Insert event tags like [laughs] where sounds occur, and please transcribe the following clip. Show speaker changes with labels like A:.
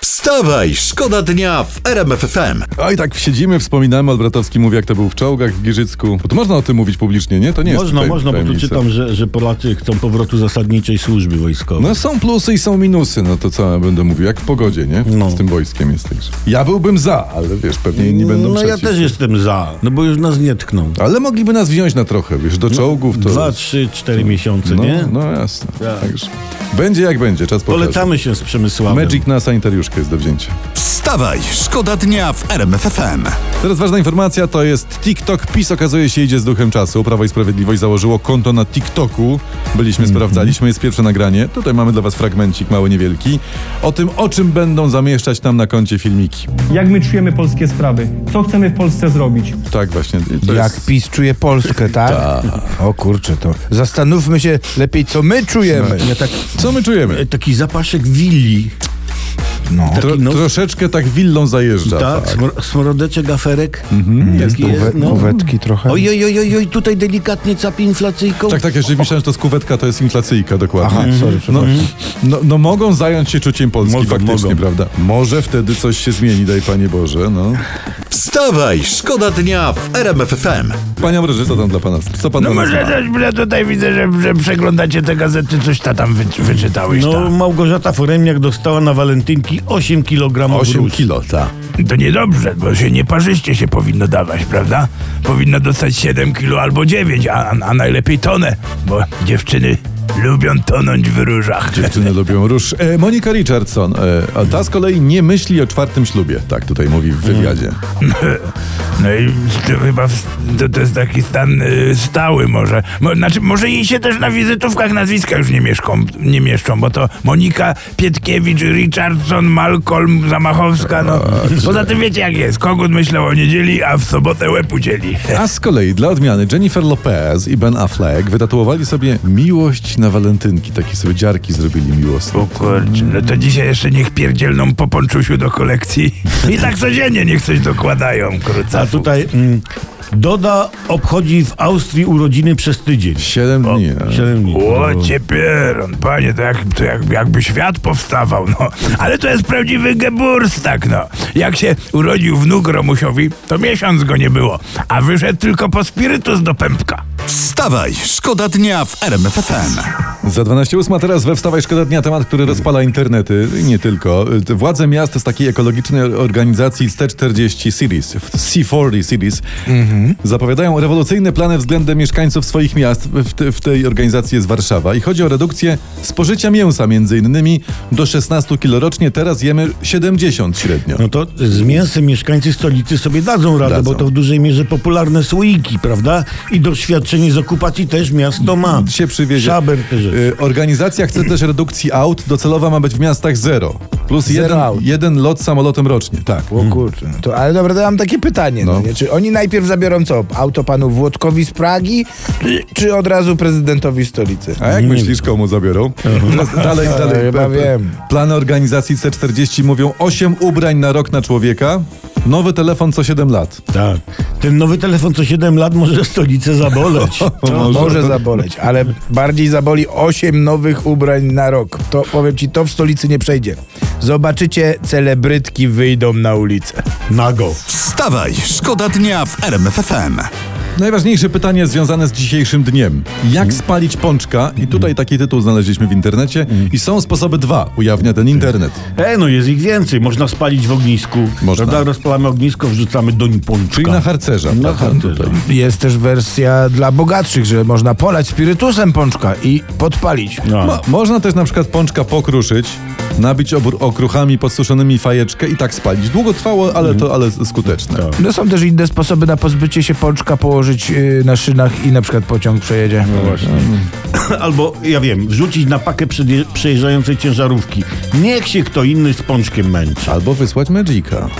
A: Wstawaj, szkoda dnia w RMFFM.
B: A i tak siedzimy, wspominamy, Albratowski mówi, jak to był w czołgach w Giżycku. Bo to można o tym mówić publicznie, nie? To nie jest
C: Można,
B: tutaj
C: można, bo tu
B: tajemnica.
C: czytam, że, że Polacy chcą powrotu zasadniczej służby wojskowej.
B: No są plusy i są minusy, no to co ja będę mówił, jak w pogodzie, nie?
C: No.
B: Z tym wojskiem jest także. Ja byłbym za, ale wiesz, pewnie inni będą
C: no ja
B: przeciw.
C: też jestem za, no bo już nas nie tkną.
B: Ale mogliby nas wziąć na trochę, wiesz, do czołgów to...
C: No, Dwa, trzy, cztery miesiące,
B: no,
C: nie?
B: no jasne.
C: Tak.
B: Także. Będzie jak będzie, czas pokaże.
C: Polecamy się z Przemysławem.
B: Magic na sanitariuszkę jest do wzięcia.
A: Wstawaj, szkoda dnia w RMFFM.
B: Teraz ważna informacja to jest TikTok. PiS okazuje się idzie z duchem czasu. Prawo i Sprawiedliwość założyło konto na TikToku. Byliśmy,
D: Mhm.
B: sprawdzaliśmy, jest pierwsze nagranie. Tutaj mamy dla was fragmencik mały, niewielki. O tym, o czym będą zamieszczać tam na koncie filmiki.
E: jak my czujemy polskie sprawy, co chcemy w Polsce zrobić.
B: Tak właśnie. To
D: Jak
B: jest...
D: PiS czuje
F: [laughs]
D: Polskę, tak? O kurczę, to zastanówmy się lepiej, co my czujemy.
C: Ja tak,
B: Co my czujemy?
C: e, taki zapaszek willi,
D: No.
B: Tro,
C: no-
B: troszeczkę tak willą zajeżdża.
C: tak? Smro, smrodeczek, aferek.
B: Mhm,
C: Taki no.
D: Uwe, Uwetki trochę.
C: Oj, oj, oj, oj, oj, tutaj delikatnie capi inflacyjką.
B: Tak, tak, jeżeli myślałem, że to z kuwetka to jest inflacyjka, dokładnie.
D: Aha, sorry,
B: no,
D: przepraszam.
B: no, no mogą zająć się czuciem Polski
C: Mogą,
B: faktycznie,
C: mogą.
B: prawda? Może wtedy coś się zmieni, daj Panie Boże, no.
A: Wstawaj, szkoda dnia w RMFFM.
B: Panie Ambroży, co tam dla Pana? Co Pan
F: No
B: dla nas
F: może
B: ma?
F: też, bo ja tutaj widzę, że, że przeglądacie te gazety, coś ta tam wy, wyczytałeś.
C: No,
F: No.
C: Małgorzata Foremniak dostała na walentynki 8 kg
B: 8 kilo, tak.
F: To niedobrze, bo się nie parzyście się powinno dawać, prawda? Powinno dostać 7 kilo albo 9, a, a najlepiej tonę, bo dziewczyny lubią tonąć w różach.
B: Dziewczyny lubią róż. E, Monika Richardson, e, a ta z kolei nie myśli o czwartym ślubie. Tak tutaj mówi w wywiadzie.
F: No i to chyba w, to, to jest taki stan y, stały może. Mo, znaczy, może jej się też na wizytówkach nazwiska już nie, mieszką, nie mieszczą, bo to Monika Pietkiewicz, Richardson, Malcolm, Zamachowska, no. Poza tym wiecie jak jest, kogut myślał o niedzieli, a w sobotę łeb udzieli.
B: A z kolei dla odmiany Jennifer Lopez i Ben Affleck wytatuowali sobie miłość na walentynki. Takie sobie dziarki zrobili miłosne.
F: O kurczę, no to dzisiaj jeszcze niech pierdzielną po ponczusiu do kolekcji. I tak codziennie niech coś dokładają, króca.
C: A tutaj mm, Doda obchodzi w Austrii urodziny przez tydzień.
B: Siedem dni. a.
C: 7 dni.
D: no.
F: O, ciepieron, panie, to, jak, to jak, jakby świat powstawał, no. Ale to jest prawdziwy geburstak, no. Jak się urodził wnuk Romusiowi, to miesiąc go nie było, a wyszedł tylko po spirytus do pępka.
A: Wstawaj, szkoda dnia w RMFFM.
B: Za 12.08 teraz we Wstawaj Szkoda Dnia temat, który rozpala internety i nie tylko. Te Władze miast z takiej ekologicznej organizacji C40 Cities, C40 Cities,
D: Mhm.
B: zapowiadają rewolucyjne plany względem mieszkańców swoich miast. W, te, w tej organizacji jest Warszawa i chodzi o redukcję spożycia mięsa między innymi do 16 kg rocznie. Teraz jemy 70 średnio.
C: No to z mięsem mieszkańcy stolicy sobie dadzą radę,
B: Dadzą.
C: bo to w dużej mierze popularne słoiki, prawda? I doświadczenie z okupacji też miasto ma.
B: się przywiezie.
C: Szaber też.
B: Y, Organizacja chce też redukcji aut. Docelowa ma być w miastach zero. Plus
D: Zero
B: jeden,
D: aut.
B: jeden lot samolotem rocznie. Tak.
D: O kurczę. no To, ale dobra, to mam takie pytanie. No.
B: No.
D: nie? Czy oni najpierw zabiorą co? Auto panu Włodkowi z Pragi, czy, czy od razu prezydentowi stolicy?
B: A jak myślisz, komu
D: [laughs]
B: zabiorą? No, dalej, dalej.
D: Ja chyba
B: P- p-
D: wiem.
B: Plany organizacji C40 mówią 8 ubrań na rok na człowieka, nowy telefon co 7 lat.
C: Tak. Ten nowy telefon co 7 lat może stolicę zaboleć.
B: [laughs]
C: No,
D: może. zaboleć, ale bardziej zaboli 8 nowych ubrań na rok. To powiem ci, to w stolicy nie przejdzie. Zobaczycie, celebrytki wyjdą na ulicę.
C: Nago.
A: Wstawaj, szkoda dnia w RMFFM.
B: Najważniejsze pytanie związane z dzisiejszym dniem.
D: Mhm.
B: Jak spalić pączka? I tutaj taki tytuł znaleźliśmy w internecie.
D: Mhm.
B: I są sposoby dwa, ujawnia ten internet.
C: E, no jest ich więcej. Można spalić w ognisku.
B: Można.
C: Prawda? Rozpalamy ognisko, wrzucamy do niej pączka. Tak,
B: Czyli na harcerza.
C: Na
B: prawda?
C: harcerza.
B: Tutaj.
D: Jest też wersja dla bogatszych, że można polać spirytusem pączka i podpalić.
C: No.
B: Mo- można też na przykład pączka pokruszyć, nabić obr- okruchami podsuszonymi fajeczkę i tak spalić. Długo trwało,
D: Mhm.
B: ale to ale skuteczne.
D: No są też inne sposoby na pozbycie się pączka, położyć yy, na szynach i na przykład pociąg przejedzie. No właśnie.
C: Albo, ja wiem, wrzucić na pakę przeje- przejeżdżającej ciężarówki. Niech się kto inny z pączkiem męczy.
B: Albo wysłać Magica.